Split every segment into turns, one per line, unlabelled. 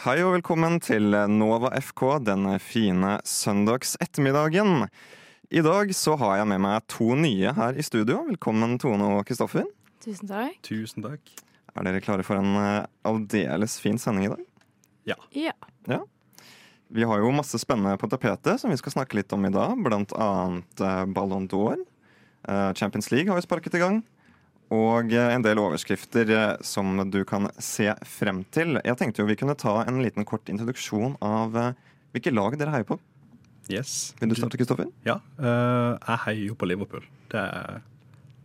Hei og velkommen til Nova FK denne fine søndags ettermiddagen. I dag så har jeg med meg to nye her i studio. Velkommen Tone og Kristoffer.
Tusen takk.
Tusen takk.
Er dere klare for en eh, aldeles fin sending i dag?
Ja.
Vi har jo masse spennende på tapetet som vi skal snakke litt om i dag. Blant annet eh, Ballon d'Or. Eh, Champions League har jo sparket i gang. Og eh, en del overskrifter eh, som du kan se frem til. Jeg tenkte jo vi kunne ta en liten kort introduksjon av eh, hvilke lag dere heier på.
Yes.
Vil du starte, Kristoffer?
Ja. eh, jeg heier jo på Liverpool. Det, er-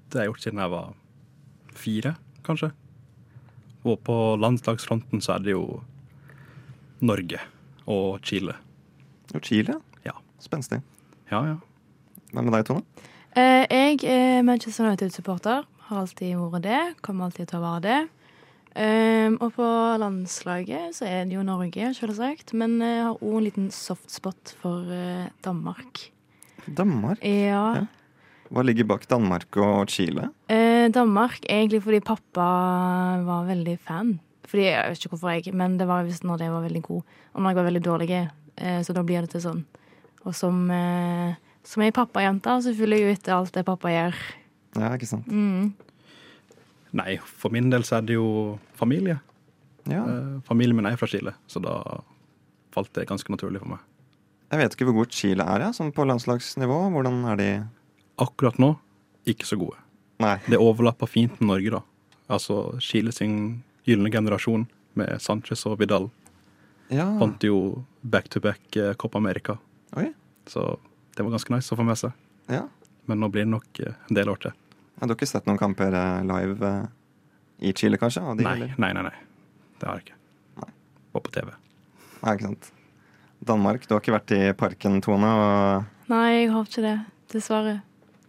det har jeg gjort siden jeg var fire, kanskje. Og på landslagsfronten så er det jo Norge og Chile.
Jo, Chile.
Ja.
Spenstig.
Ja, ja.
Hva med deg, Tone?
Eh, jeg er Manchester United-supporter. Har alltid vært det. Kommer alltid til å være det. Ehm, og på landslaget så er det jo Norge, selvsagt. Men jeg har òg en liten softspot for eh, Danmark.
Danmark.
Ja.
Ja. Hva ligger bak Danmark og Chile?
Eh, Danmark egentlig fordi pappa var veldig fan. Fordi Jeg vet ikke hvorfor, jeg, men det var visst når jeg var veldig god. Og når jeg var veldig dårlig. Eh, så da blir det til sånn. Og som, eh, som ei pappajente så følger jeg jo etter alt det pappa gjør.
Ja, ikke sant?
Mm.
Nei, for min del så er det jo familie.
Ja.
Eh, familien min er fra Chile, så da falt det ganske naturlig for meg.
Jeg vet ikke hvor god Chile er, ja, sånn på landslagsnivå. Hvordan er de
Akkurat nå ikke så gode.
Nei.
Det overlapper fint med Norge, da. Altså Chile sin gylne generasjon med Sanchez og Vidal.
Ja.
Vant jo back-to-back eh, Copa America,
Mm. Oi.
så det var ganske nice å få med seg.
Ja.
Men nå blir det nok eh, en del år til.
Har dere sett noen kamper eh, live eh, i Chile, kanskje? av de,
Nei,
eller?
nei, nei. nei. Det har jeg ikke.
Nei.
Var på TV.
Nei, ikke sant. Danmark, du har ikke vært i Parken, Tone, og
Nei, jeg har ikke det. Dessverre.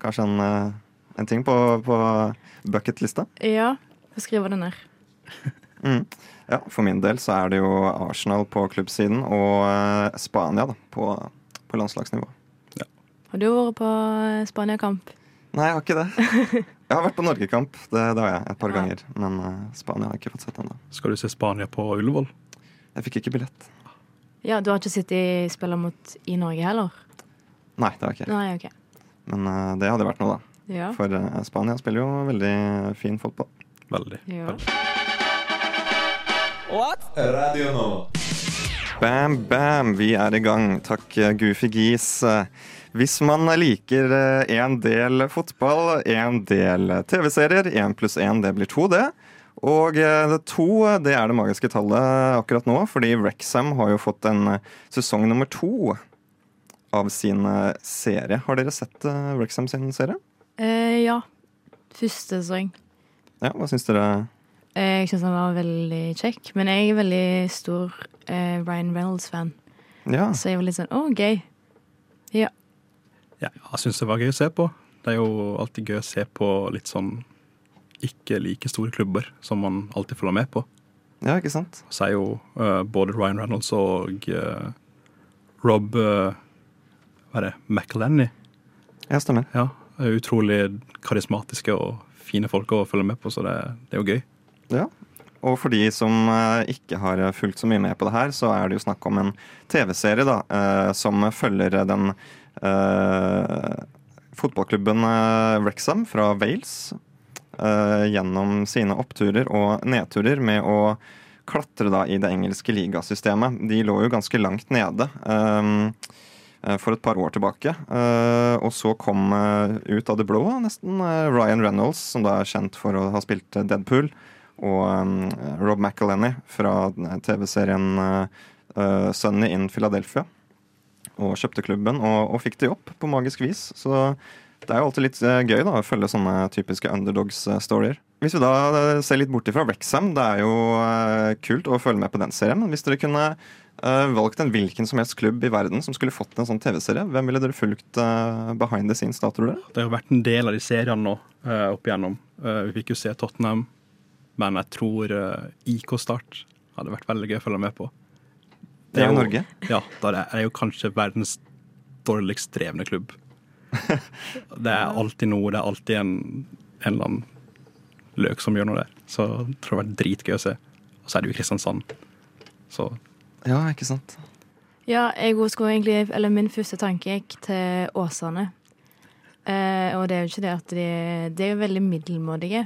kanskje en, eh, en ting på, på bucketlista?
Ja. Jeg skriver det ned.
Mm. Ja, for min del så er det jo Arsenal på klubbsiden og eh, Spania da, på, på landslagsnivå.
Har du vært på eh, Spania-kamp?
Nei, jeg har ikke det. Jeg har vært på Norgekamp, det, det har jeg, et par
Ja.
ganger. Men eh, Spania har jeg ikke fått sett ennå.
Skal du se Spania på Ullevål?
Jeg fikk ikke billett.
Ja, du har ikke sett de spiller mot i Norge heller?
Nei, det har jeg ikke.
Nei, OK.
Men eh, det hadde vært noe, da.
Ja.
For eh, Spania spiller jo veldig fin fotball.
Veldig.
Ja.
veldig.
Radio Nova.
Bam, bam, vi er i gang. Takk, eh, Goofy Gis. Eh, Hvis man liker eh, en del fotball, en del eh, TV-serier, én pluss én, det blir to, det. Og eh, det to eh, det er det magiske tallet akkurat nå, fordi Rexham har jo fått en eh, sesong nummer to av sin eh, serie. Har dere sett eh, Wrexham sin serie?
Eh, ja. Første sesong.
Ja, hva syns dere?
Eh, Jeg syns han var veldig kjekk, men jeg er veldig stor eh, Ryan Reynolds-fan.
Ja,
Så jeg var litt sånn Å, gøy.
Ja, jeg syns det var gøy å se på. Det er jo alltid gøy å se på litt sånn ikke like store klubber som man alltid følger med på.
ja ikke sant?
Så er jo eh, både Ryan Reynolds og eh, Rob eh, Hva er det? McElhenney.
Ja, stemmer.
Ja, er utrolig karismatiske og fine folk å følge med på, så det, det er jo gøy.
Ja. Og for de som eh, ikke har fulgt så mye med på det her, så er det jo snakk om en TV-serie da, eh, som følger den eh, fotballklubben eh, Wrexham fra Wales eh, gjennom sine oppturer og nedturer med å klatre da i det engelske ligasystemet. De lå jo ganske langt nede. eh, eh, for et par år tilbake. Eh, og så kom eh, ut av det blå nesten eh, Ryan Reynolds, som da er kjent for å ha spilt eh, Deadpool, og eh, Rob McElhenney fra den TV-serien eh, eh, Sunny in Philadelphia. Og kjøpte klubben og, og fikk de opp på magisk vis. Så det er jo alltid litt eh, gøy da, å følge sånne typiske underdogs-storier. Hvis vi da eh, ser litt bort ifra Wrexham, det er jo eh, kult å følge med på den serien. Men hvis dere kunne eh, valgt en hvilken som helst klubb i verden som skulle fått en sånn TV-serie, hvem ville dere fulgt eh, behind the scenes da, tror dere?
Det har jo vært en del av de seriene nå eh, opp igjennom. Eh, vi fikk jo se Tottenham, men jeg tror eh, IK Start hadde vært veldig gøy å følge med på.
Det er jo Norge.
Ja, da er det er jo kanskje verdens dårligst drevne klubb. Det er alltid noe, det er alltid en, en eller annen løk som gjør noe der. Så jeg tror det hadde vært dritgøy å se. Og så er det jo Kristiansand. Så
Ja, ikke sant.
Ja, jeg også skulle egentlig Eller min første tanke gikk til Åsane. Eh, og det er jo ikke det at de De er jo veldig middelmådige.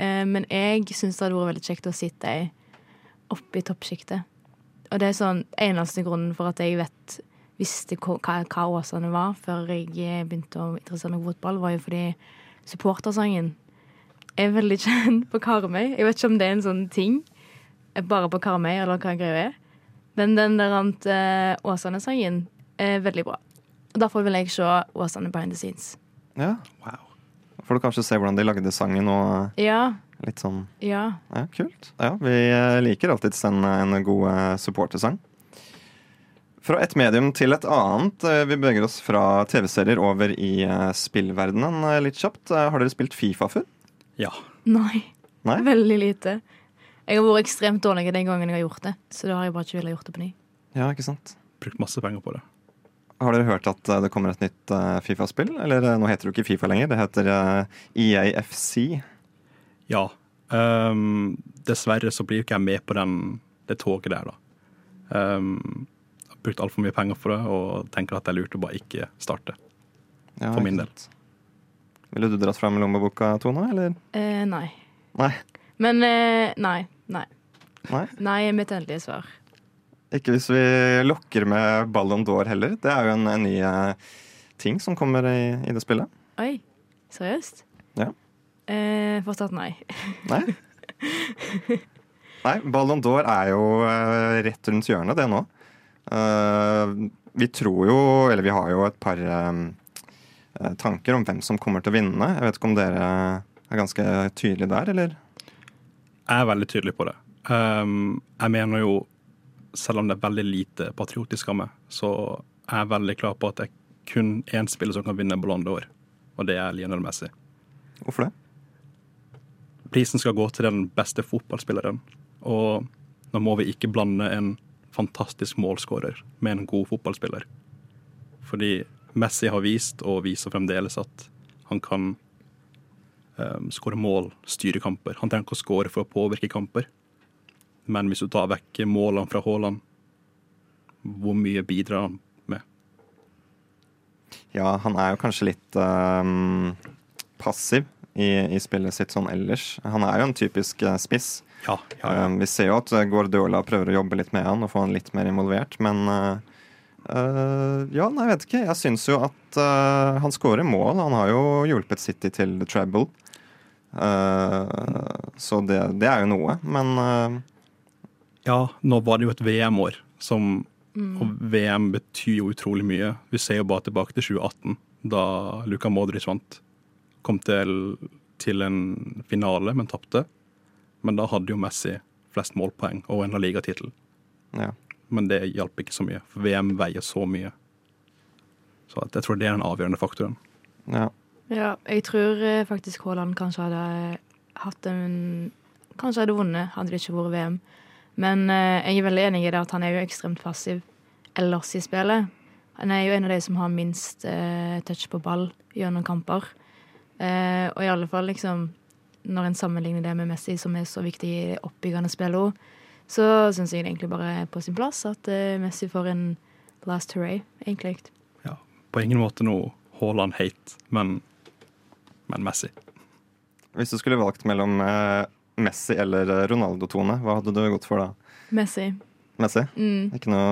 Eh, men jeg syns det hadde vært veldig kjekt å sitte ei oppe i toppsjiktet. Og det er sånn eneste grunnen for at jeg vet visste hva, hva- hva Åsane var før jeg eh, begynte å interessere meg for fotball, var jo fordi supportersangen er veldig kjent på Karmøy. Jeg vet ikke om det er en sånn ting eh, bare på Karmøy, eller hva greia er. Men den der ant eh, Åsane-sangen er veldig bra. Og Derfor vil jeg se Åsane behind the scenes.
Ja.
Wow.
Får du kanskje se hvordan de lagde sangen og
Ja,
litt sånn
ja.
Ja, kult. Ja, vi eh, liker alltid en, en god eh, supportersang. Fra et medium til et annet. eh, Vi beveger oss fra TV-serier over i eh, spillverdenen eh, litt kjapt. Eh, Har dere spilt Fifa før?
Ja.
Nei.
Nei?
Veldig lite. Jeg har vært ekstremt dårlig den gangen jeg har gjort det, så da har jeg bare ikke villet gjort det på ny.
Ja, ikke sant?
Brukt masse penger på det.
Har dere hørt at eh, det kommer et nytt eh, Fifa-spill? Eller eh, nå heter det jo ikke Fifa lenger, det heter eh, EAFC.
Ja. ehm, dessverre så blir jo ikke jeg med på den, det toget der, da. Um, har brukt altfor mye penger for det og tenker at det er lurt å bare ikke starte.
Ja,
For min
ikke sant. Ville du dratt fram lommeboka, Tone? Eller?
Eh, nei.
Nei.
Men eh, nei. Nei.
Nei.
Nei er mitt endelige svar.
Ikke hvis vi lokker med Ballon d'Or heller. Det er jo en, en ny eh, ting som kommer i, i det spillet.
Oi. Seriøst?
Ja.
Eh, fortsatt nei.
Nei? Nei, Ballon d'Or er jo eh, rett rundt hjørnet, det nå. Eh, vi tror jo, eller vi har jo et par eh, eh, tanker om hvem som kommer til å vinne. Jeg vet ikke om dere er ganske tydelige der, eller?
Jeg er veldig tydelig på det. Ehm, jeg mener jo, selv om det er veldig lite patriotisk av meg, så er jeg veldig klar på at det er kun én spiller som kan vinne Ballon d'Or, og det er Lionel Messi.
Hvorfor det?
Prisen skal gå til den beste fotballspilleren, og nå må vi ikke blande en fantastisk målskårer med en god fotballspiller. Fordi Messi har vist, og viser fremdeles, at han kan um, skåre mål, styre kamper. Han trenger ikke å skåre for å påvirke kamper. Men hvis du tar vekk målene fra Haaland, hvor mye bidrar han med?
Ja, han er jo kanskje litt eh, passiv i, i spillet sitt sånn ellers. Han er jo en typisk eh, spiss.
Ja, ja, ja.
Um, Vi ser jo at eh, Guardiola prøver å jobbe litt med han og få han litt mer involvert, men eh, eh, Ja, nei, jeg vet ikke. Jeg syns jo at eh, han skårer mål. Han har jo hjulpet City til the treble. Eh, så det, det er jo noe, men eh,
Ja, nå var det jo et VM-år, som Og VM betyr jo utrolig mye. Vi ser jo bare tilbake til 2018, da Luka Modric vant. Kom til, til en finale, men tapte. Men da hadde jo Messi flest målpoeng og en La Liga-tittel.
ja.
Men det hjalp ikke så mye, for VM veier så mye. Så at jeg tror det er den avgjørende faktoren.
ja.
Ja, jeg tror eh, faktisk Haaland kanskje hadde eh, hatt en Kanskje hadde vunnet, hadde det ikke vært VM. Men eh, jeg er veldig enig i det at han er jo ekstremt passiv ellers i spillet. Han er jo en av de som har minst eh, touch på ball gjennom kamper. Eh, og i alle fall liksom når en sammenligner det med Messi, som er så viktig i det oppbyggende spillet også, så syns jeg det egentlig bare er på sin plass at eh, Messi får en last hurray, egentlig.
Ja. På ingen måte noe Haaland-hate, men, men Messi.
Hvis du skulle valgt mellom eh, Messi eller eh, Ronaldo, Tone, hva hadde du gått for da?
Messi.
Messi?
Mm,
Ikke noe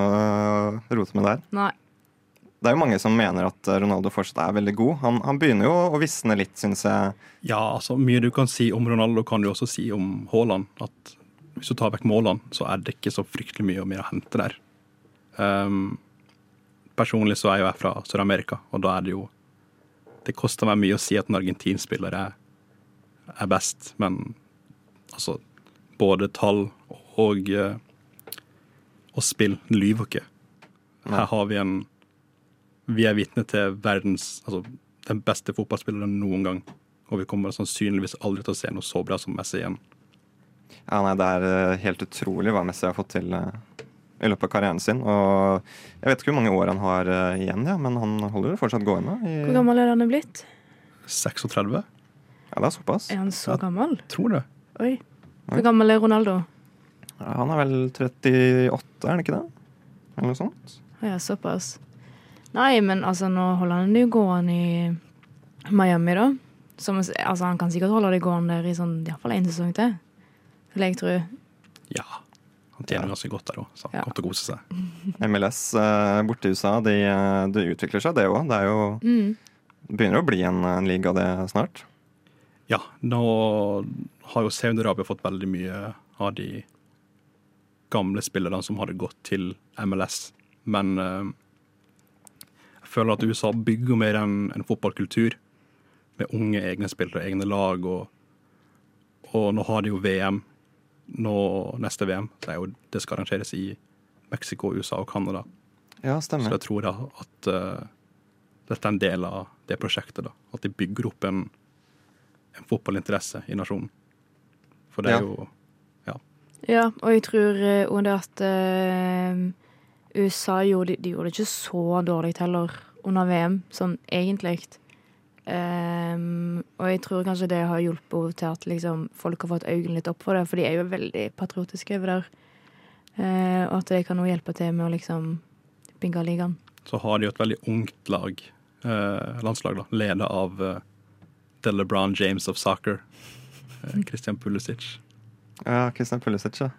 eh, rot med der?
nei.
Det er jo mange som mener at eh, Ronaldo fortsatt er veldig god. Han, han begynner jo å visne litt, syns jeg.
Ja, altså mye du kan si om Ronaldo, kan du også si om Haaland. At hvis du tar vekk målene, så er det ikke så fryktelig mye mer å hente der. Ehm, personlig så er jo jeg fra Sør-Amerika, og da er det jo Det koster meg mye å si at en argentinsk spiller er, er best, men altså Både tall og, eh, og spill lyver ikke. Her har vi en Vi er vitne til verdens Altså den beste fotballspilleren noen gang. Og vi kommer sannsynligvis aldri til å se noe så bra som Messi igjen.
Ja, nei, Det er eh, helt utrolig hva Messi har fått til eh, i løpet av karrieren sin. Og jeg vet ikke hvor mange år han har eh, igjen, ja, men han holder jo fortsatt gående. I,
Hvor gammel er han blitt?
36?
ja, det er såpass.
Er han så
Ja.
gammel?
Tror det.
Oi.
Oi.
Hvor gammel er Ronaldo?
Han er vel 38, er han ikke det? Eller noe sånt?
Ja, såpass. Nei, men altså, nå holder han det jo gående i Miami, da. Som, altså, han kan sikkert holde det gående der i sånn, iallfall én sesong til, vil jeg tro.
Ja. Han tjener
Ja.
ganske godt der òg, så han
Ja.
kommer til å kose seg.
Mhm.
MLS eh, borte i USA, de, eh, det utvikler seg, det òg. Det er jo,
Mm.
begynner å bli en, en liga, det, snart.
Ja, nå har jo Saudi-Arabia fått veldig mye av de gamle spillerne som hadde gått til MLS, men eh, jeg føler at USA bygger mer en, en fotballkultur med unge egne spillere, egne lag, og, og nå har de jo VM. Nå, neste VM det, er jo, det skal arrangeres i Mexico, USA og Canada.
Ja,
Så
stemmer.
jeg tror da at eh, dette er en del av det prosjektet. da, At de bygger opp en, en fotballinteresse i nasjonen. For det er
Ja.
jo
Ja, og jeg tror eh, også det at eh, USA gjorde, de gjorde det ikke så dårlig heller under VM, sånn egentlig. Ehm, og jeg tror kanskje det har hjulpet til at liksom, folk har fått øynene litt opp for det, for de er jo veldig patriotiske over der. Eh, og at det kan også hjelpe til med å liksom binge ligaen.
Så har de jo et veldig ungt lag, eh, landslag, da, ledet av eh, The LeBron James of soccer. eh, Christian Pulisic.
Ja, Christian Pulisic, ja.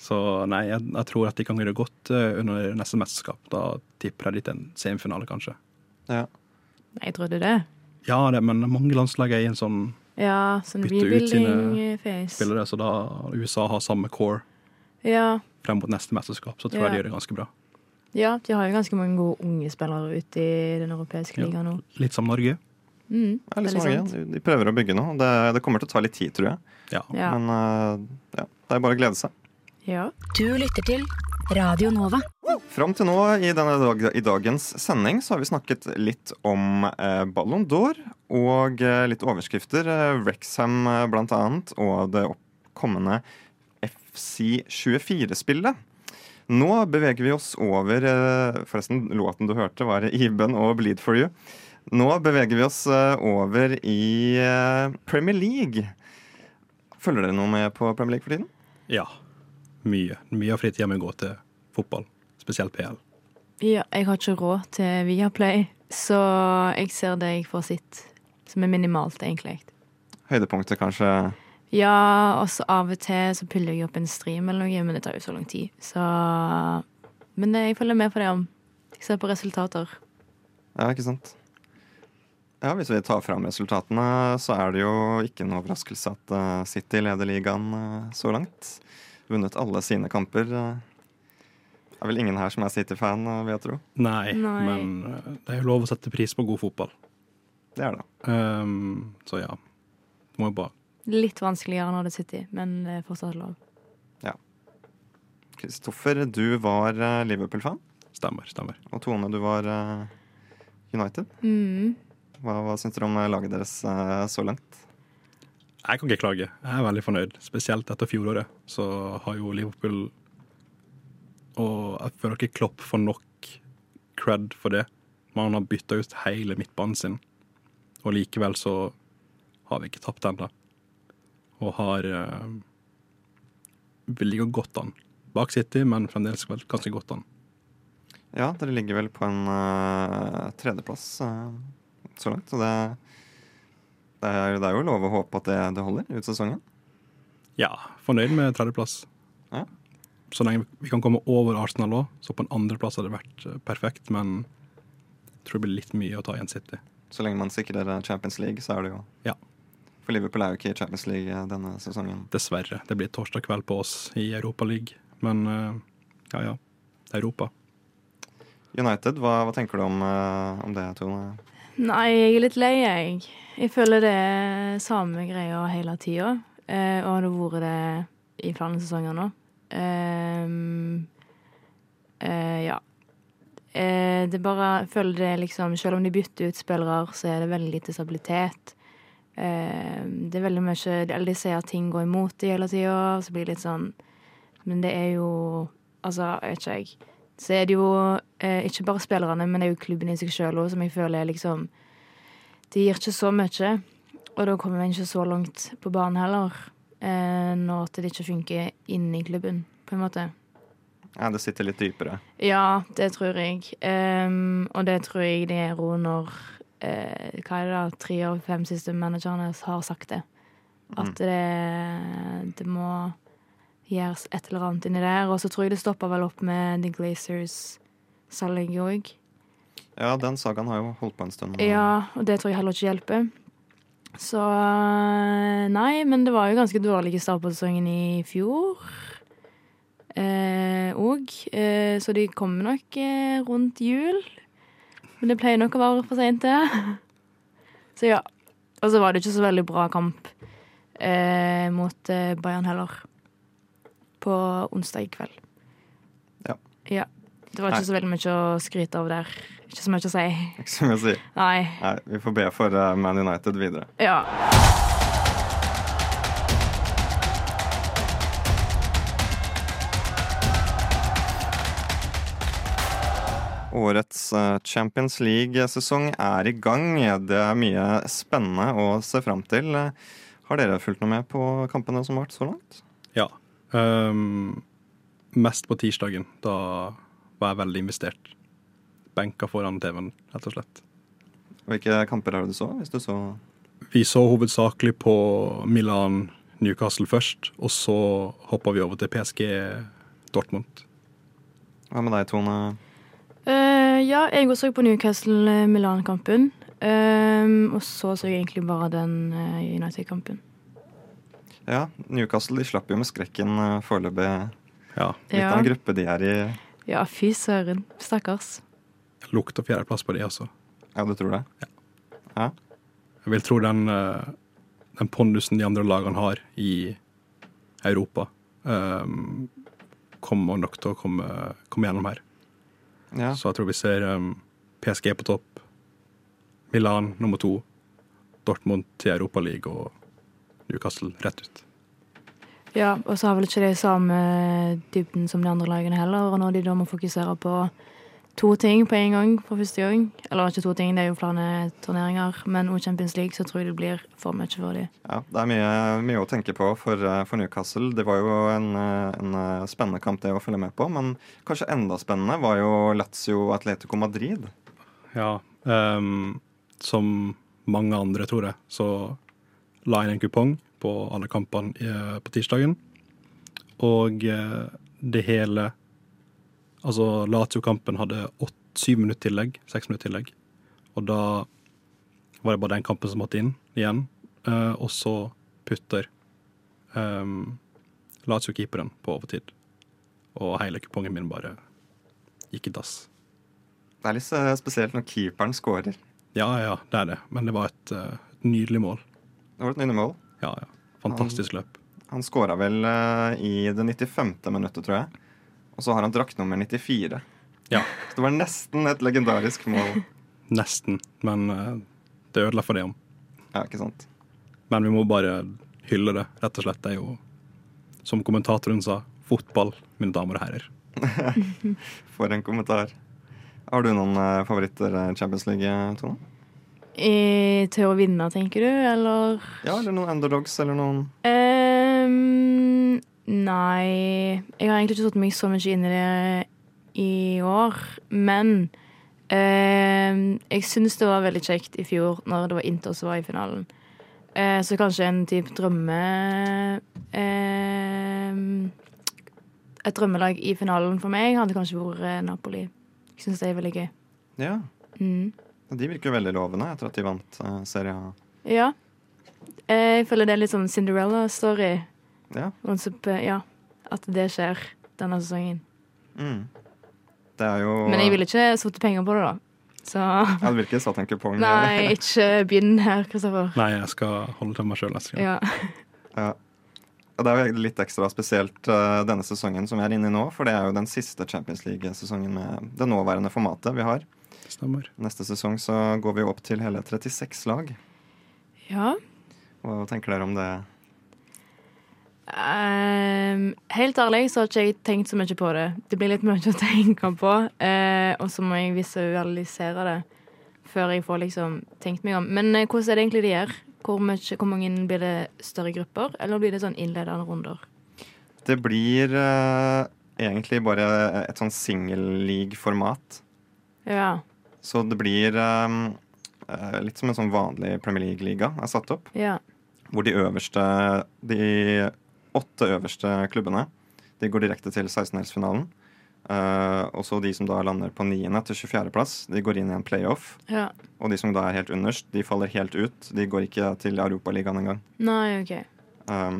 Så nei, jeg, jeg tror at de kan gjøre det godt eh, under neste mesterskap. Da tipper jeg de til en semifinale, kanskje.
ja.
Nei, jeg trodde det.
Ja, det, men mange landslag er i en sånn
Ja, sånn
Bytte ut sine
rebuilding-face.
spillere, så da USA har samme core
Ja.
frem mot neste mesterskap, så tror jeg
Ja.
de gjør det ganske bra.
ja, de har jo ganske mange gode unge spillere ute i den europeiske
Ja.
ligaen nå.
Litt som Norge.
Mm,
Det er litt
veldig
sånn,
sant.
de, de prøver å bygge noe. Det, det kommer til å ta litt tid, tror jeg.
Ja.
Ja.
Men eh, ja, det er bare å glede seg.
ja.
Du lytter til Radio Nova.
Fram til nå i, denne dag, i dagens sending så har vi snakket litt om eh, Ballon d'Or og eh, litt overskrifter. Eh, Wrexham eh, blant annet og det oppkommende FC24-spillet. Nå beveger vi oss over eh, Forresten, låten du hørte var Iben og Bleed for you. Nå beveger vi oss eh, over i eh, Premier League. Følger dere noe med på Premier League for tiden?
ja. Mye. Mye av fritida mi går til fotball. Spesielt PL.
ja. Jeg har ikke råd til Viaplay, så jeg ser det jeg får sitt, som er minimalt, egentlig.
Høydepunktet, kanskje?
Ja, og så av og til så piller jeg opp en stream eller noe, men det tar jo så lang tid, så Men eh, jeg følger med på det om. Jeg ser på resultater.
Ja, ikke sant. Ja, Hvis vi tar fram resultatene, så er det jo ikke en overraskelse at eh, City leder ligaen eh, så langt. Vunnet alle sine kamper. eh. Det er vel ingen her som er City-fan, eh, vil jeg tro.
Nei,
Nei.
men eh, det er jo lov å sette pris på god fotball.
Det er det.
Ehm, så ja. Må jo bare
Litt vanskeligere når det sitter, i, men det er fortsatt lov.
Kristoffer, du var eh, Liverpool-fan.
Stemmer, stemmer.
Og Tone, du var eh, United.
Mm.
Hva, hva syns dere om eh, laget deres eh, så langt?
Jeg kan ikke klage. Jeg er veldig fornøyd. Spesielt etter fjoråret, så har jo Liverpool Og jeg føler ikke Klopp får nok cred for det. Men han har bytta ut hele midtbanen sin, og likevel så har vi ikke tapt ennå. Og har eh, Vi ligger godt an. Bak City, men fremdeles vel ganske godt an.
Ja, dere ligger vel på en eh, tredjeplass eh, så langt, så det, det, er, det er jo lov å håpe at det, det holder ut sesongen.
Ja, fornøyd med tredjeplass.
Ja.
Så lenge vi kan komme over Arsenal òg, så på en andreplass hadde det vært eh, perfekt, men jeg tror det blir litt mye å ta igjen City.
Så lenge man sikrer eh, Champions League, så er det jo
Ja.
For Liverpool er jo ikke i Champions League eh, denne sesongen.
Dessverre. Det blir torsdag kveld på oss i Europaligaen, men eh, ja ja. Europa.
United, hva, hva tenker du om, eh, om det, Tone?
Nei, jeg er litt lei, jeg. Jeg føler det er samme greia hele tida. Eh, og det har vært det i flere sesonger nå. Ehm, eh, ja. Eh, det er bare jeg føler det er liksom Selv om de bytter ut spillere, så er det veldig lite stabilitet. Ehm, det er veldig mye Eller de sier at ting går imot de hele tida, så blir det litt sånn Men det er jo Altså, jeg vet ikke, jeg så er det jo eh, ikke bare spillerne, men det er jo klubben i seg sjøl òg, som jeg føler er liksom De gir ikke så mye, og da kommer en ikke så langt på banen heller. eh, når at det ikke funker inni klubben, på en måte.
Ja, det sitter litt dypere.
Ja, det tror jeg. Ehm, og det tror jeg det er ro når eh, hva er det da, tre av fem siste managerne har sagt det. At det, det må gjøres et eller annet inni der. Og så tror jeg det stopper vel opp med The Glazers-salget òg.
Ja, den sagaen har jo holdt på en stund. Mm.
Ja, og det tror jeg heller ikke hjelper. Så eh, Nei, men det var jo ganske dårlig start på sesongen i fjor. Eh, og eh, Så de kommer nok eh, rundt jul. Men det pleier nok å være for seint, det. Så ja. Og så var det ikke så veldig bra kamp eh, mot eh, Bayern heller. På onsdag kveld.
Ja.
ja. Det var
Nei.
ikke så veldig mye å skryte av der. Ikke så mye å si.
Ikke som jeg sier.
Nei.
Nei, vi får be for eh, Man United videre.
Ja.
Årets eh, Champions League-sesong er i gang. Det er mye spennende å se fram til. Eh, Har dere fulgt noe med på kampene som har vært så langt?
Ja. Ehm, mest på tirsdagen. Da var jeg veldig investert. Benka foran TV-en, rett og slett.
Hvilke kamper har du så, hvis du så
Vi så hovedsakelig på Milan Newcastle først, og så hoppa vi over til PSG Dortmund.
Hva med deg, Tone?
Eh, ja, jeg også så på Newcastle-Milan-kampen. Ehm, og så så jeg egentlig bare den eh, United-kampen.
Ja, Newcastle de slapp jo med skrekken eh, foreløpig.
Ja.
Litt
Ja.
av en gruppe de er i.
Ja, fy søren. Stakkars.
Lukter fjerdeplass på det, altså.
Ja, du tror det? Ja.
Jeg vil tro den, eh, den pondusen de andre lagene har i Europa, ehm, kommer nok til å komme, komme gjennom her.
Ja.
Så jeg tror vi ser um, PSG på topp, Milan nummer to, Dortmund til Europaligaen og Newcastle rett ut.
Ja, og så har vel ikke de samme dybden som de andre lagene heller. Og når de da må fokusere på to ting på en gang for første gang Eller ikke to ting, det er jo flere turneringer, men òg Champions League, så tror jeg det blir for mye for dem.
Ja, Det er mye, mye å tenke på for, eh, for Newcastle. Det var jo en, eh, en eh, spennende kamp det å følge med på, men kanskje enda spennende var jo Lazio Atletico Madrid.
Ja. Um, som mange andre, tror jeg, så la jeg inn en kupong på alle kampene eh, på tirsdagen. Og eh, det hele Altså, Lazio-kampen hadde åtte, syv minutter tillegg, seks minutter tillegg. Og da var det bare den kampen som måtte inn igjen. Eh, og så putter um, Lazio-keeperen på overtid. Og hele kupongen min bare gikk i dass.
Det er litt eh, spesielt når keeperen scorer. Det
Ja, ja, det er det. Men det var et, eh, et nydelig mål.
var et nytt mål.
Ja, ja. Fantastisk løp.
Han scora vel eh, i det 95. minuttet, tror jeg. Og så har han draktnummer 94.
Ja,
Så det var nesten et legendarisk mål.
nesten. Men eh, det ødela for det om.
Ja, ikke sant?
Men vi må bare hylle det, rett og slett. Det er jo, som kommentatoren sa, fotball, mine damer og herrer.
For en kommentar. Har du noen eh, favoritter i Champions League, Tone?
Eh, Til å vinne, tenker du, eller?
Ja, eller noen underdogs, eller noen
Ehm, nei Jeg har egentlig ikke satt meg så mye inn i det i år. Men ehm, jeg syns det var veldig kjekt i fjor når det var Inter som var i finalen. Eh, så kanskje en type drømme ehm, Et drømmelag i finalen for meg hadde kanskje vært eh, Napoli. Jeg syns det er veldig gøy.
Ja.
Mm.
De virker jo veldig lovende etter at de vant eh, Serie A.
Ja. Eh, jeg føler det er litt sånn Cinderella-story.
Ja.
Once up, ja, at det skjer denne sesongen.
Mm. Det er jo
Men jeg ville ikke satt penger på det, da. Så
Jeg hadde virkelig satt en kupong.
nei, ikke begynn her, Kristoffer.
Nei, jeg skal holde til meg sjøl neste gang.
Ja.
Ja. Og Det er jo egentlig litt ekstra spesielt eh, denne sesongen som vi er inne i nå, for det er jo den siste Champions League-sesongen med det nåværende formatet vi har.
Stemmer.
Neste sesong så går vi jo opp til hele 36 lag.
ja.
Hva tenker dere om det?
Ehm, helt ærlig så har ikke jeg tenkt så mye på det. Det blir litt mye å tenke på. eh, og så må jeg visualisere det før jeg får liksom tenkt meg om. Men eh, hvordan er det egentlig de gjør? Hvor, mye, hvor mange blir det større grupper, eller blir det sånn innledende runder?
Det blir eh, egentlig bare et sånn singelleague-format.
Ja,
Så det blir eh, eh, litt som en sånn vanlig Premier League-liga er satt opp.
ja,
Hvor de øverste De åtte øverste klubbene De går direkte til 16-delsfinalen. Eh, og så de som da lander på 9. til 24. plass, de går inn i en playoff.
ja.
Og de som da er helt underst, de faller helt ut. De går ikke til Europaligaen engang.
Nei, OK.
Um,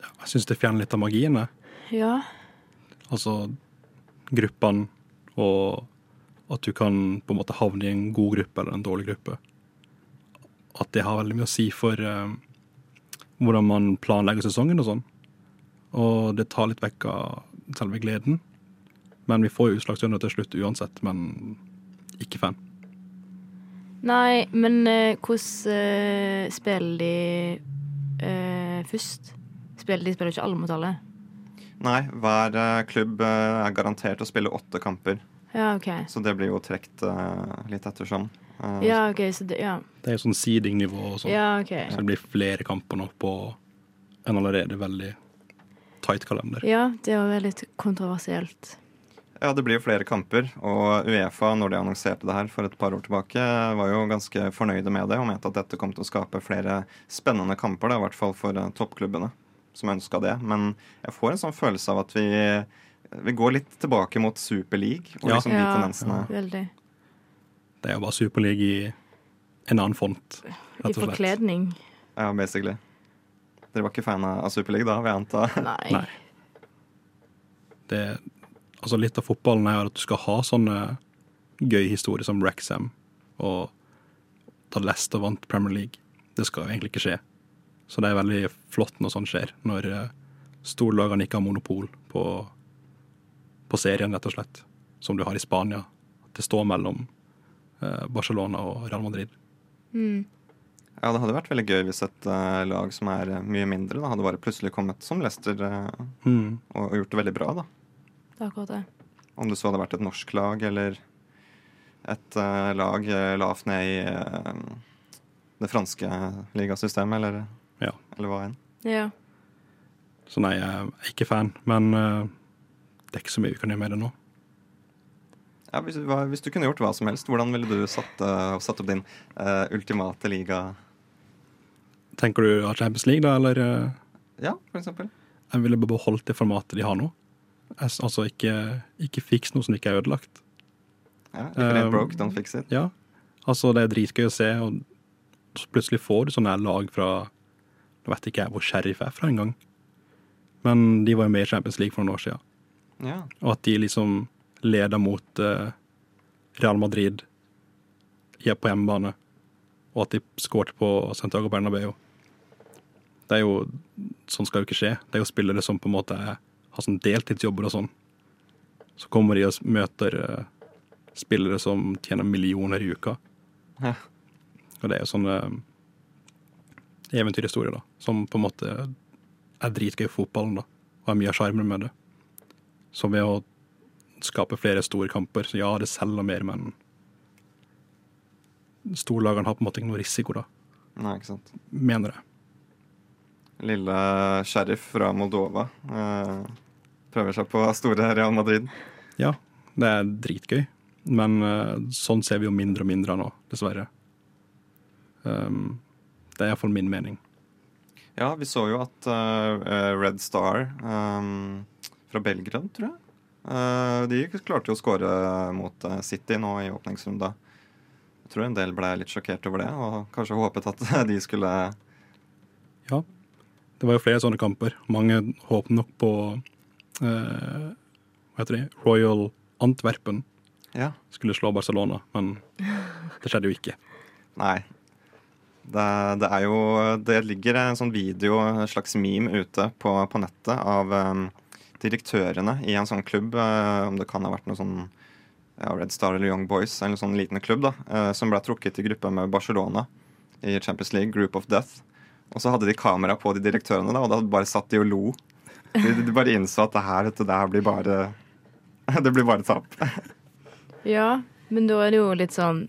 Jeg syns det fjerner litt av magien. jeg.
Ja.
Altså gruppene, og at du kan på en måte havne i en god gruppe eller en dårlig gruppe. At det har veldig mye å si for eh, hvordan man planlegger sesongen og sånn. Og det tar litt vekk av selve gleden. Men vi får jo utslagsrunder til slutt uansett, men ikke fan.
Nei, men eh, hvordan eh, spiller de eh, først? Spiller de spiller jo ikke alle mot alle.
nei, hver eh, klubb eh, er garantert å spille åtte kamper.
Ja, OK.
Så det blir jo trukket eh, litt ettersom. Eh,
Ja, ok, så det, ja.
Det er jo sånn seeding-nivå og sånn.
ja, ok.
Så det blir flere kamper nå på en allerede veldig tight kalender.
Ja, det var vel litt kontroversielt.
Ja, det blir jo flere kamper, og Uefa, når de annonserte det her for et par år tilbake, eh, var jo ganske fornøyde med det og mente at dette kom til å skape flere spennende kamper, da, i hvert fall for eh, toppklubbene som ønska det. Men jeg får en sånn følelse av at vi, eh, vi går litt tilbake mot Super League og
Ja.
liksom de
Ja.
tendensene.
Veldig.
Det er jo bare Superliga i en annen font,
I
rett og slett.
forkledning.
Ja, basically. Dere var ikke fan av av Super League da, vil jeg anta?
Nei.
Nei. Det, altså litt av fotballen er at du skal ha sånne gøy historier som Wrexham og da Leicester vant Premier League. Det skal jo egentlig ikke skje. Så det er veldig flott når sånt skjer, når eh, storlagene ikke har monopol på, på serien, rett og slett, som du har i Spania. Det står mellom eh, Barcelona og Real Madrid.
Mm.
Ja, det hadde vært veldig gøy hvis et eh, lag som er eh, mye mindre, da hadde bare plutselig kommet som Leicester eh, og, og gjort det veldig bra, da.
Det er akkurat det.
Om det så hadde vært et norsk lag eller et eh, lag uh, lavt ned i eh, det franske ligasystemet, eller,
Ja.
eller hva enn.
Ja.
Så nei, jeg er ikke fan, men eh, det er ikke så mye vi kan gjøre med det nå.
Ja, hvis, hva, hvis du kunne gjort hva som helst, hvordan ville du satt, eh, satt opp din eh, ultimate liga?
Tenker du av Champions League, da, eller? eh,
Ja, for eksempel.
Jeg ville bare beholdt det formatet de har nå. Jeg, s- altså, ikke, ikke fiks noe som ikke er ødelagt.
Ja, if it ain't
Um,
broke, don't fix it.
Ja, altså, det er dritgøy å se, og så plutselig får du sånne her lag fra Nå vet ikke jeg hvor Sheriff er fra engang, men de var jo med i Champions League for noen år siden.
Ja.
Og at de liksom leder mot eh, Real Madrid ja, på hjemmebane. Og at de skårte på Santiago Bernabeu. Det er jo, sånn skal jo ikke skje. Det er jo spillere som på en måte er- har sånn deltidsjobber og sånn. Så kommer de og s- møter eh, spillere som tjener millioner i uka.
Ja.
Og det er jo sånne eh, eventyrhistorier, da. Som på en måte er dritgøy for fotballen, da. Og er mye av sjarmen med det. Så ved å skape flere store kamper, så ja, det selger mer, men storlagene har på en måte ikke noe risiko, da.
Nei, ikke sant.
Mener jeg.
Lille sheriff fra Moldova eh, prøver seg på store Real Madrid.
Ja, det er dritgøy, men eh, sånn ser vi jo mindre og mindre av nå, dessverre. Um, det er iallfall min mening.
Ja, vi så jo at eh, Red Star ehm, fra Belgrad, tror jeg eh, De klarte jo å skåre mot eh, City nå i åpningsrunda. Jeg tror en del ble litt sjokkert over det, og kanskje håpet at de skulle
Ja, det var jo flere sånne kamper. Mange håpet nok på eh, Hva heter de? Royal Antwerpen
Ja.
skulle slå Barcelona, men det skjedde jo ikke.
Nei. Det, det er jo Det ligger en sånn video, en slags meme, ute på, på nettet av ehm, direktørene i en sånn klubb, eh, om det kan ha vært noe sånn ja, Red Star eller Young Boys, eller en sånn liten klubb, da, eh, som ble trukket i gruppa med Barcelona i Champions League, Group of Death. Og så hadde de kamera på de direktørene, da, og da bare satt de og lo. De, de bare innså at det her, dette, det her blir bare Det blir bare tap.
Ja, men da er det jo litt sånn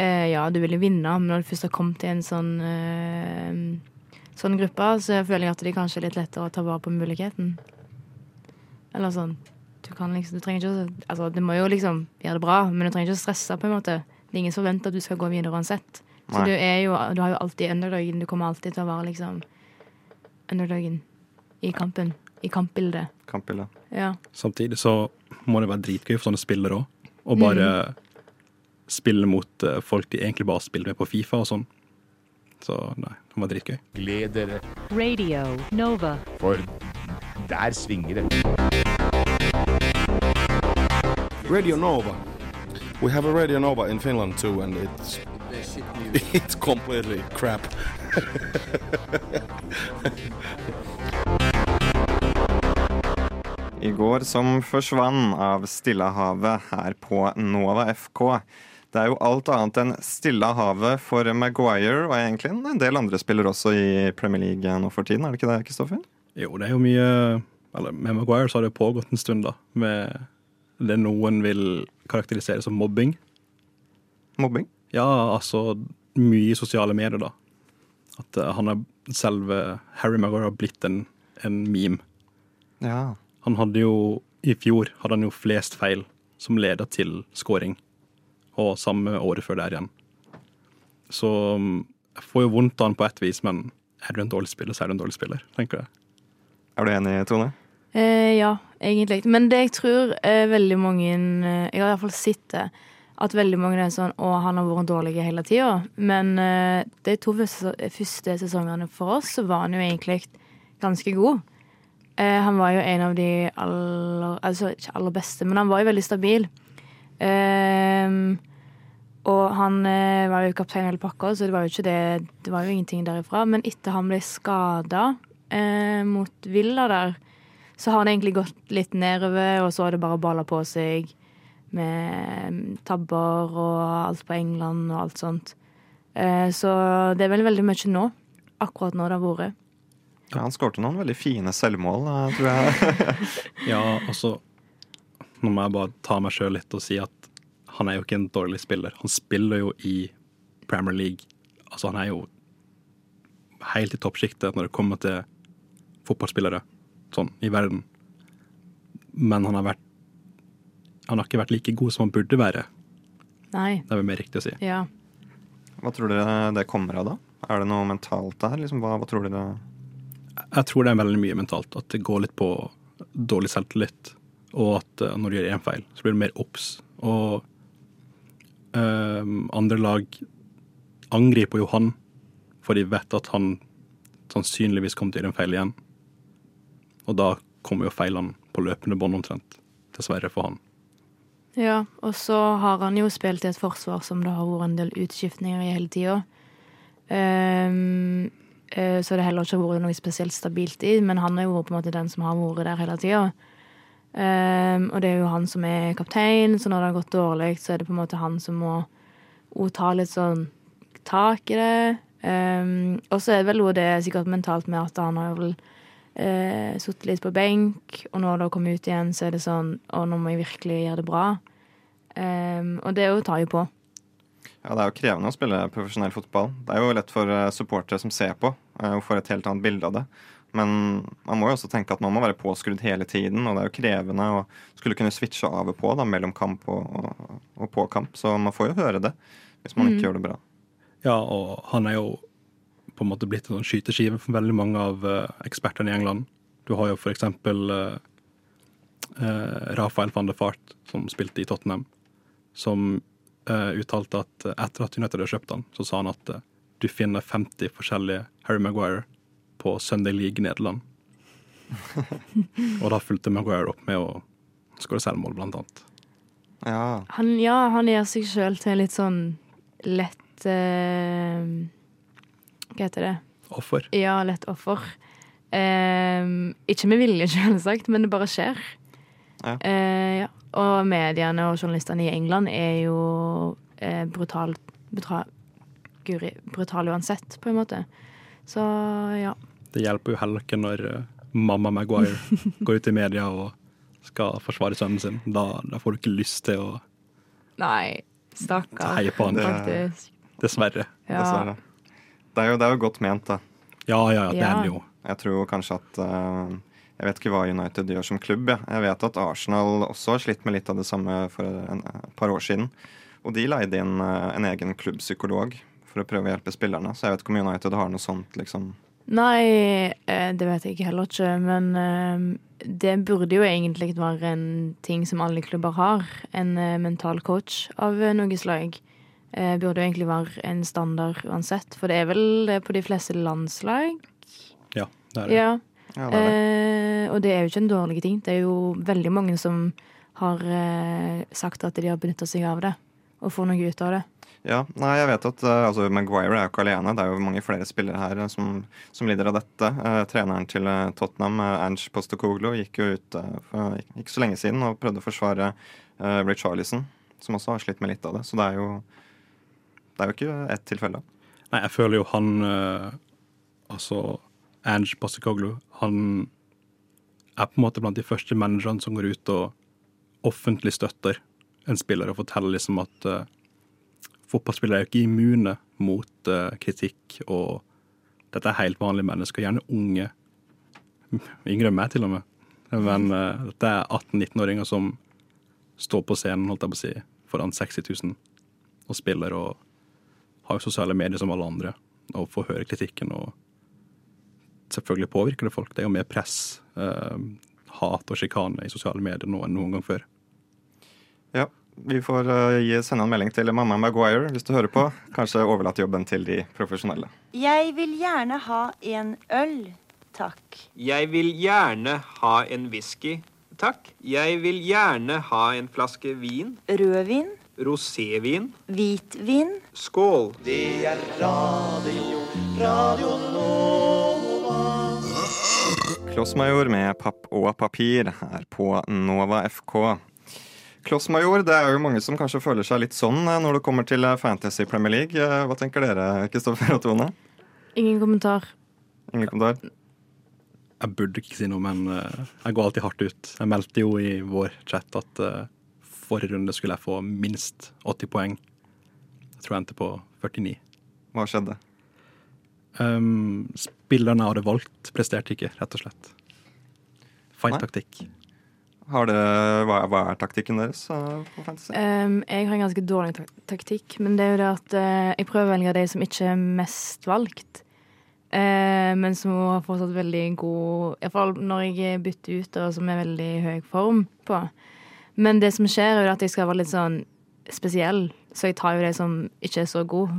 eh, eh, ja, du ville vinne, men når du først har kommet til en sånn, eh, sånn gruppe, så føler jeg at det kanskje er litt lettere å ta vare på muligheten. Eller sånn. Du kan liksom, du trenger ikke å Altså, du må jo liksom gjøre det bra, men du trenger ikke å stresse, på en måte. Det er ingen som forventer at du skal gå videre uansett. Så
Nei.
du er jo Du har jo alltid underdagen. Du kommer alltid til å være liksom underdagen i kampen. I kampbildet.
Kampbildet.
Ja.
Samtidig så må det være dritgøy for sånne spillere òg. Å bare spille mot eh, folk de egentlig bare spiller med på Fifa og sånn. Så nei, det var dritgøy.
Gled dere,
Radio Nova.
for der svinger det.
Radio Nova. We have a Radio Nova in Finland too, and it's it's completely crap.
I går som forsvann av Stillehavet her på Nova FK. Det er jo alt annet enn Stillehavet for Maguire og egentlig en del andre spillere også i Premier League nå for tiden, er det ikke det, Kristoffer?
Jo, det er jo mye Eller med Maguire så har det pågått en stund, da. Med det noen vil karakterisere som mobbing.
Mobbing?
Ja, altså mye i sosiale medier, da. At eh, han er selve Harry Maguire har blitt en, en meme.
Ja.
Han hadde jo I fjor hadde han jo flest feil som leda til scoring, og samme året før der igjen. Så mm, jeg får jo vondt av han på ett vis, men er du en dårlig spiller, så er du en dårlig spiller, tenker jeg.
Er du enig, Tone?
Eh, ja, egentlig. Men det jeg tror eh, veldig mange eh, Jeg har iallfall sett det. At veldig mange er sånn 'Å, han har vært dårlig hele tida'. Men eh, de to første, første sesongene for oss, så var han jo egentlig ganske god. Eh, han var jo en av de aller Altså ikke aller beste, men han var jo veldig stabil. Ehm, og han eh, var jo kaptein hele pakka, så det var jo ikke det Det var jo ingenting derifra. Men etter han ble skada eh, mot Villa der, så har det egentlig gått litt nedover, og så har det bare balla på seg med tabber og alt på England og alt sånt. Eh, Så det er vel veldig mye nå. Akkurat nå det har vært.
Ja, han skårte noen veldig fine selvmål, eh, tror jeg.
Ja, altså Nå må jeg bare ta meg sjøl litt og si at han er jo ikke en dårlig spiller. Han spiller jo i Premier League. Altså, han er jo helt i toppsjiktet når det kommer til fotballspillere sånn i verden. Men han har vært Han har ikke vært like god som han burde være.
Nei.
Det er vel mer riktig å si.
Ja.
Hva tror dere det kommer av, da? Er det noe mentalt der? Liksom, hva, hva tror dere
Jeg tror det er veldig mye mentalt. At det går litt på dårlig selvtillit. Og at eh, når du gjør én feil, så blir du mer obs. Og eh, andre lag angriper jo han, for de vet at han sannsynligvis kommer til å gjøre en feil igjen. Og da kommer jo feilene på løpende bånd omtrent. Dessverre for han.
Ja, og så har han jo spilt i et forsvar som det har vært en del utskiftninger i hele tida. Ehm, eh, så det har heller ikke vært noe spesielt stabilt i, men han er jo på en måte den som har vært der hele tida. Ehm, og det er jo han som er kaptein, så når det har gått dårlig, så er det på en måte han som må og ta litt sånn tak i det. Ehm, og så er det vel noe det sikkert mentalt med at han har vel eh, sittet litt på benk, og når det kommer ut igjen, så er det sånn Å, nå må jeg virkelig gjøre det bra. Ehm, og det er jo tar jo på.
Ja, Det er jo krevende å spille profesjonell fotball. Det er jo lett for eh, supportere som ser på, eh, og får et helt annet bilde av det. Men man må jo også tenke at man må være påskrudd hele tiden, og det er jo krevende å skulle kunne switche av og på da, mellom kamp og, og, og på kamp. Så man får jo høre det hvis man ikke gjør det bra.
Ja, og han er jo på en måte blitt en sånn skyteskive for veldig mange av eh, ekspertene i England. Du har jo for eksempel eh, eh, Rafael van der Fart, som spilte i Tottenham, som eh, uttalte at eh, etter at United hadde kjøpt han, så sa han at eh, du finner 50 forskjellige Harry Maguire på Sunday League Nederland. og da fulgte Maguire opp med å skåre selvmål, blant annet.
Ja,
Han, ja, han gjør seg sjøl til litt sånn lett eh, Hva heter det?
Offer.
Ja, lett offer. Ehm, ikke med vilje, selvsagt, men det bare skjer.
Ja.
Eh, ja. Og mediene og journalistene i England er jo eh, brutalt brutal, guri, brutal uansett, på en måte. Så ja.
Det hjelper jo heller ikke når eh, mamma Maguire går ut i media og skal forsvare sønnen sin. Da, da får du ikke lyst til å
Nei. Stakkar.
Heie på han,
Faktisk.
dessverre.
Ja.
dessverre. Det er jo, det er jo godt ment, da.
Ja, ja, det er
Ja.
han jo.
Jeg tror kanskje at eh, Jeg vet ikke hva United gjør som klubb. Jeg, jeg vet at Arsenal også har slitt med litt av det samme for en, et par år siden. Og de leide inn eh, en egen klubbpsykolog for å prøve å hjelpe spillerne. Så jeg vet ikke om United har noe sånt, liksom.
Nei, eh, det vet jeg ikke heller ikke, men eh, det burde jo egentlig være en ting som alle klubber har. En eh, mental coach av eh, noe slag. Eh, Burde jo egentlig være en standard uansett, for det er vel det på de fleste landslag?
Ja, det er det.
Ja.
Ja, det er det.
Eh, og det er jo ikke en dårlig ting. Det er jo veldig mange som har eh, sagt at de har benytta seg av det, og får noe ut av det.
Ja, nei, jeg vet at eh, altså, Maguire er jo ikke alene. Det er jo mange flere spillere her eh, som, som lider av dette. Eh, treneren til eh, Tottenham, uh, Ange Postecoglo, gikk jo ut eh, for ikke- ikke så lenge siden og prøvde å forsvare uh, Ray Charlison, som også har slitt med litt av det. Så det er jo, det er jo ikke ett tilfelle.
Nei, jeg føler jo han eh, Altså Ange Passekoglu, han er på en måte blant de første managerne som går ut og offentlig støtter en spiller og forteller liksom at eh, fotballspillere er jo ikke immune mot eh, kritikk, og dette er helt vanlige mennesker, gjerne unge. Yngre enn meg, til og med. Men eh, dette er 18-19-åringer som står på scenen, holdt jeg på å si, foran 60 000 og spiller og har jo sosiale medier som alle andre, og får høre kritikken. Og selvfølgelig påvirker det folk. Det er jo mer press, eh, hat og sjikane i sosiale medier nå enn noen gang før.
Ja, vi får eh, gi, sende en melding til mamma Maguire hvis du hører på. Kanskje overlate jobben til de profesjonelle.
Jeg vil gjerne ha en øl, takk.
Jeg vil gjerne ha en whisky, takk. Jeg vil gjerne ha en flaske vin.
Rødvin,
Rosévin.
hvitvin.
Skål.
Klossmajor med papp og papir her på Nova FK. Klossmajor, det er jo mange som kanskje føler seg litt sånn eh, når det kommer til eh, Fantasy Premier League. Eh, Hva tenker dere, Kristoffer og Tone?
Ingen kommentar.
Ingen kommentar?
Jeg burde ikke si noe, men eh, jeg går alltid hardt ut. Jeg meldte jo i vår chat at eh, forrige runde skulle jeg få minst 80 poeng. Jeg tror jeg endte på 49.
Hva skjedde?
Um, spillerne jeg hadde valgt, presterte ikke, rett og slett. Feil
Nei.
taktikk.
Har dere, hva, hva er taktikken deres eh, på Fantasy?
Ehm, jeg har en ganske dårlig tak taktikk, men det er jo det at eh, jeg prøver å velge de som ikke er mest valgt. Eh, men som har fortsatt veldig god Iallfall når jeg bytter ut, og som er veldig høy form på. Men det som skjer, er jo at jeg skal være litt sånn spesiell, så jeg tar jo de som ikke er så god.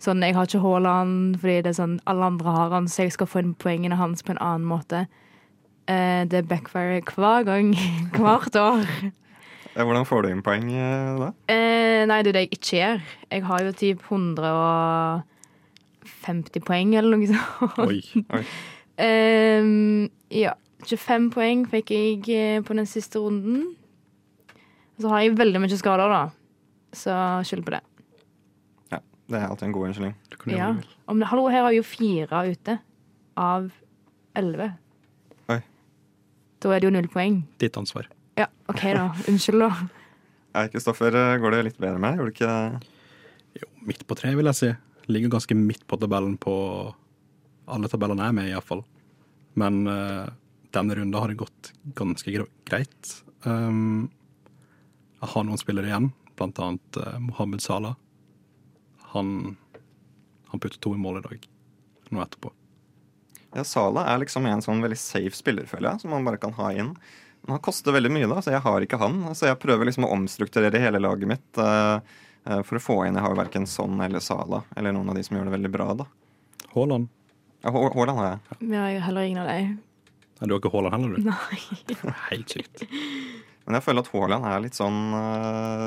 Sånn, Jeg har ikke Haaland fordi det er sånn, alle andre har han, så jeg skal få inn poengene hans på en annen måte. Eh, det backfirer hver gang. Hvert år.
Eh, Hvordan får du inn poeng eh, da?
Eh, nei, det er det jeg ikke gjør. Jeg har jo typ 150 poeng eller noe sånt.
Oi.
Ehm, ja. 25 poeng fikk jeg eh, på den siste runden. Og så har jeg veldig mye skader, da. Så skyld på det.
Ja, det er alltid en god unnskyldning.
Du kunne
Ja.
gjøre det.
Om det, hallo, her har jeg jo fire ute av elleve.
Oi.
Da er det jo null poeng.
Ditt ansvar.
Ja, OK, da. Unnskyld, da.
Eh, Kristoffer, eh, går det litt bedre med? Gjorde du ikke det?
Jo, midt på treet, vil jeg si. Ligger ganske midt på tabellen på alle tabellene jeg er med i, iallfall. Men eh, denne runden har det gått ganske gre- greit. Um, jeg har noen spillere igjen, blant annet eh, Mohammed Salah. Han, han putter to i mål i dag, nå etterpå.
Ja, Sala er liksom en sånn veldig safe spiller, føler jeg, som man bare kan ha inn. Men han koster veldig mye, da, så jeg har ikke han. Så jeg prøver liksom å omstrukturere hele laget mitt eh, eh, for å få inn Jeg har jo verken Son eller Sala eller noen av de som gjør det veldig bra, da.
Haaland.
Ja, H- Haaland har jeg.
Vi har jo heller ingen av dem.
Nei, Du har ikke Haaland heller, du?
Nei.
Det er Helt sykt.
Men jeg føler at Haaland er litt sånn eh,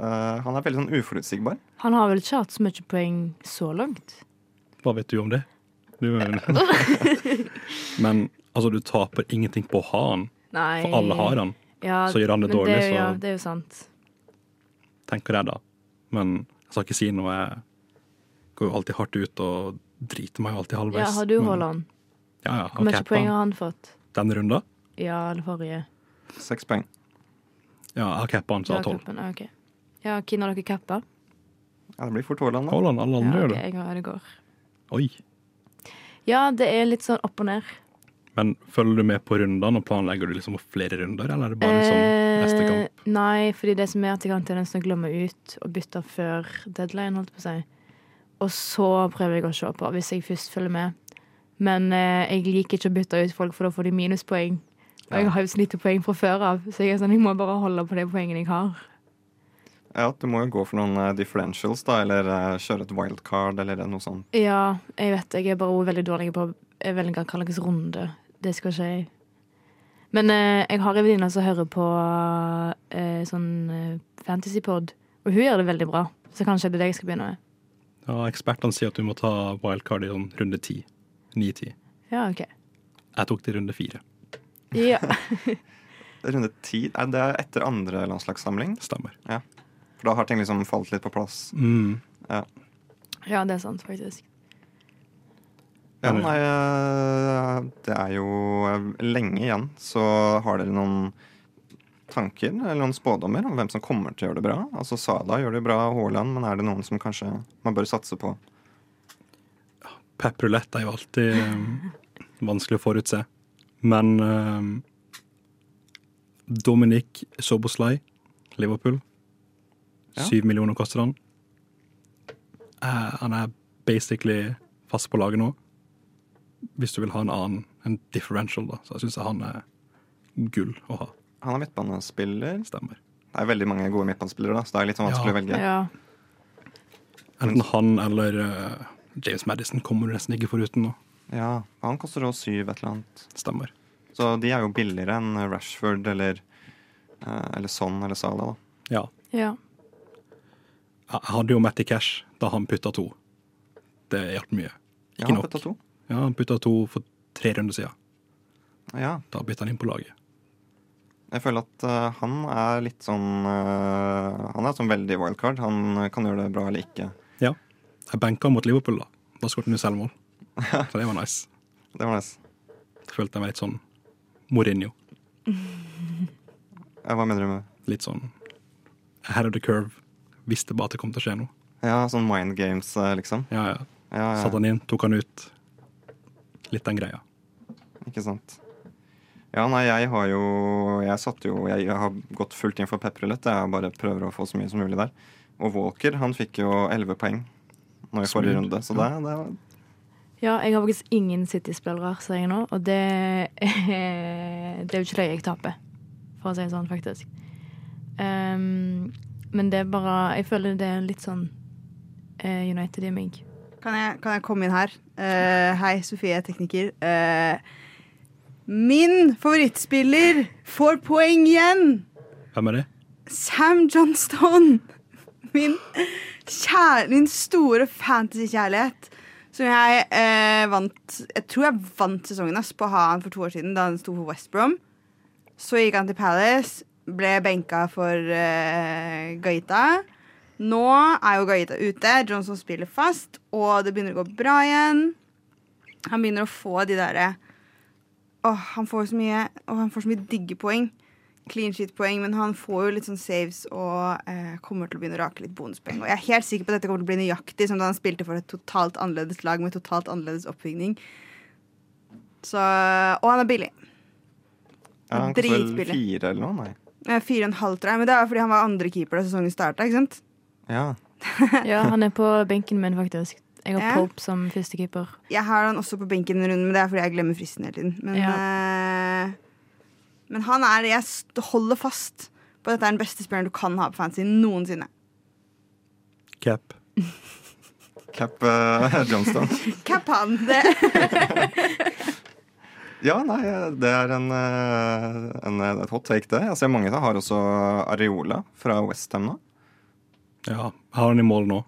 eh, Han er veldig sånn uforutsigbar.
Han har vel ikke hatt så mye poeng så langt?
Hva vet du om det? Du, men altså, du taper ingenting på å ha han,
Nei.
for alle har han.
Ja,
Så gjør han det
men
dårlig,
er jo-
så-
Ja, det er jo sant.
tenker jeg da. Men jeg skal ikke si noe. Jeg går jo alltid hardt ut og driter meg jo alltid halvveis.
Ja, har du
Men-
Haaland?
Ja, ja.
Hvor mye
ok,
poeng
da.
har han fått?
Denne runden?
Ja, eller forrige?
Seks poeng.
Ja, jeg har cappa han, så jeg har
Ja,
tolv.
cupen, Ah, ok. Ja, hvem har dere kappa?
Ja, det blir fort Haaland, da.
Haaland, alle
Ja,
andre gjør
ok,
det.
jeg har det går.
Oi.
Ja, det er litt sånn opp og ned.
Men følger du med på rundene, og planlegger du liksom flere runder, eller er det bare sånn neste kamp?
Eh, Nei, fordi det som er at jeg har en tendens til å glemme ut og bytte før deadline, holdt på å si. Og så prøver jeg å se på, hvis jeg først følger med. Men eh, jeg liker ikke å bytte ut folk, for da får de minuspoeng. Og jeg har jo så lite poeng fra før av, så jeg, er sånn, jeg må bare holde på de poengene jeg har.
Ja, Du må jo gå for noen eh, differentials, da, eller eh, kjøre et wildcard eller noe sånt.
Ja, jeg vet jeg er bare også veldig dårlig på å velge hva slags runde. Det skal ikke jeg. Men eh, jeg har en venninne som hører på eh, sånn eh, fantasypod, og hun gjør det veldig bra. Så kanskje det er det jeg skal begynne med.
Ja, Ekspertene sier at du må ta wildcard i sånn runde ti. Ni-ti.
Ja, ok.
Jeg tok det i runde fire.
Ja.
Runde ti Nei, det er etter andre landslagssamling.
Stemmer.
For da har ting liksom falt litt på plass.
Mm.
ja, det er sant, faktisk.
Ja,
Eller-
nei, eh, det er jo eh, lenge igjen. Så har dere noen tanker eller noen spådommer om hvem som kommer til å gjøre det bra? Altså Sala gjør det bra, Haaland, men er det noen som kanskje man bør satse på?
Pep roulette er jo alltid eh, vanskelig å forutse. Men eh, Dominic Soboslai, Liverpool.
Ja.
Syv millioner koster han. Eh, han er basically fast på laget nå. Hvis du vil ha en annen, en differential, da. Så jeg syns han er gull å ha.
Han er midtbanespiller.
Stemmer.
Det er veldig mange gode midtbanespillere, da, så det er litt sånn vanskelig å
Ja.
velge.
Ja.
Enten han eller eh, James Madison kommer du nesten ikke foruten nå.
Ja, Han koster også syv et eller annet.
Stemmer.
Så de er jo billigere enn Rashford eller, eh, eller Son eller Sala. da.
Ja.
ja.
Jeg hadde jo Matty Cash da han putta to. Det hjalp mye.
Ja,
Ikke nok.
putta to.
Ja, han putta to for tre runder siden.
Ja,
Da bytta han inn på laget.
Jeg føler at eh, han er litt sånn eh, Han er sånn veldig wildcard. Han kan gjøre det bra eller ikke.
Ja. Jeg banka mot Liverpool, da. Da skåret han jo selvmål. Så det var nice.
Det var nice.
Da følte jeg meg litt sånn Mourinho.
Ja, Hva mener du med
Litt sånn ahead of the curve. Visste bare at det kom til å skje noe.
Ja, sånn mind games, eh, liksom.
Ja, ja.
Ja, ja,
Satte han inn, tok han ut. Litt den greia.
ikke sant. Ja, nei, jeg har jo Jeg satte jo Jeg har gått fullt inn for pepperulett. Jeg bare prøver å få så mye som mulig der. Og Walker, han fikk jo 11 poeng nå i forrige
Smooth.
runde, så det, det var
ja, jeg har faktisk ingen City-spillere, ser jeg nå, og det, det er jo ikke det jeg taper, for å si det sånn, faktisk. Ehm, men det er bare Jeg føler det er litt sånn eh, United i meg.
Kan jeg, kan jeg komme inn her? Eh, hei, Sofie, jeg er tekniker. Eh, min favorittspiller får poeng igjen!
Hvem er det?
Sam Johnston! Min, kjære, min store fantasykjærlighet. Som jeg eh, vant Jeg tror jeg vant sesongen ass, på å ha han for to år siden, da han sto for West Brom. Så gikk han til Palace, ble benka for eh, Gaita. Nå er jo Gaita ute, Johnson spiller fast, og det begynner å gå bra igjen. Han begynner å få de derre Åh, han får så mye Åh, han får så mye digge poeng clean sheet-poeng, men han får jo litt sånn saves og eh, kommer til å begynne å rake litt bonuspoeng. Og jeg er helt sikker på at dette kommer til å bli nøyaktig som da han spilte for et totalt annerledes lag med totalt annerledes oppbygning. Så, og han er billig.
ja, Han koster vel
Dritbillig.
fire eller noe? Nei.
Eh, Fire og en halv, tror jeg. Men det er fordi han var andre keeper da sesongen starta. Ikke sant?
Ja.
Ja, han er på benken min, faktisk. Jeg har
Ja.
Pope som førstekeeper.
Jeg har han også på benken en runde, men det er fordi jeg glemmer fristen hele tiden. Men, eh, men han er Jeg st- holder fast på at dette er den beste spilleren du kan ha på fantasy noensinne.
Cap.
Cap eh, Johnston.
Cap han! Det
Ja, nei, det er en, eh, en, et hot take, det. Jeg ser mange som har også Areola fra Westham nå.
Ja, jeg har han i mål nå,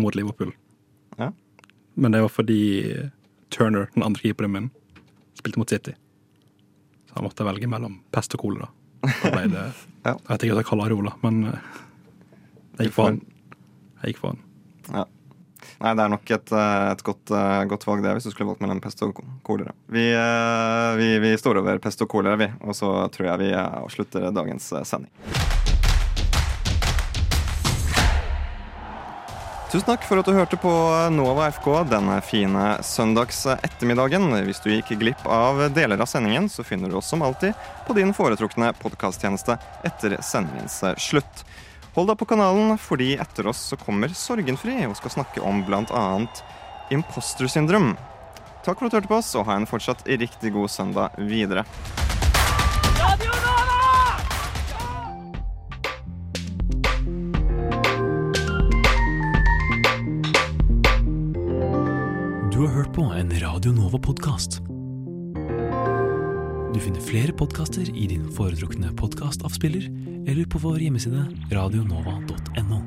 mot Liverpool.
Ja.
Men det var fordi Turner, den andre keeperen min, spilte mot City. Så han måtte velge mellom pest og kolera. Da ble det
Ja.
Jeg vet ikke hva jeg kaller Rola, men eh, jeg gikk for han. Jeg gikk for han.
Nei, det er nok et, eh, et godt, eh, godt valg, det, hvis du skulle valgt mellom pest og ko- kolera. Vi, eh, vi, vi står over pest og kolera, vi. Og så tror jeg vi eh, avslutter dagens eh, sending. Tusen takk for at du hørte på Nova FK denne fine søndags eh, ettermiddagen. Hvis du gikk glipp av deler av sendingen, så finner du oss som alltid på din foretrukne podkasttjeneste etter sendingens eh, slutt. Hold deg på kanalen, fordi etter oss så kommer Sorgenfri og skal snakke om bl.a. imposter syndrom. Takk for at du hørte på oss, og ha en fortsatt riktig god søndag videre.
Du har hørt på en Radio Nova-podkast. Du finner flere podkaster i din foretrukne podkastavspiller eller på vår hjemmeside radionova.no.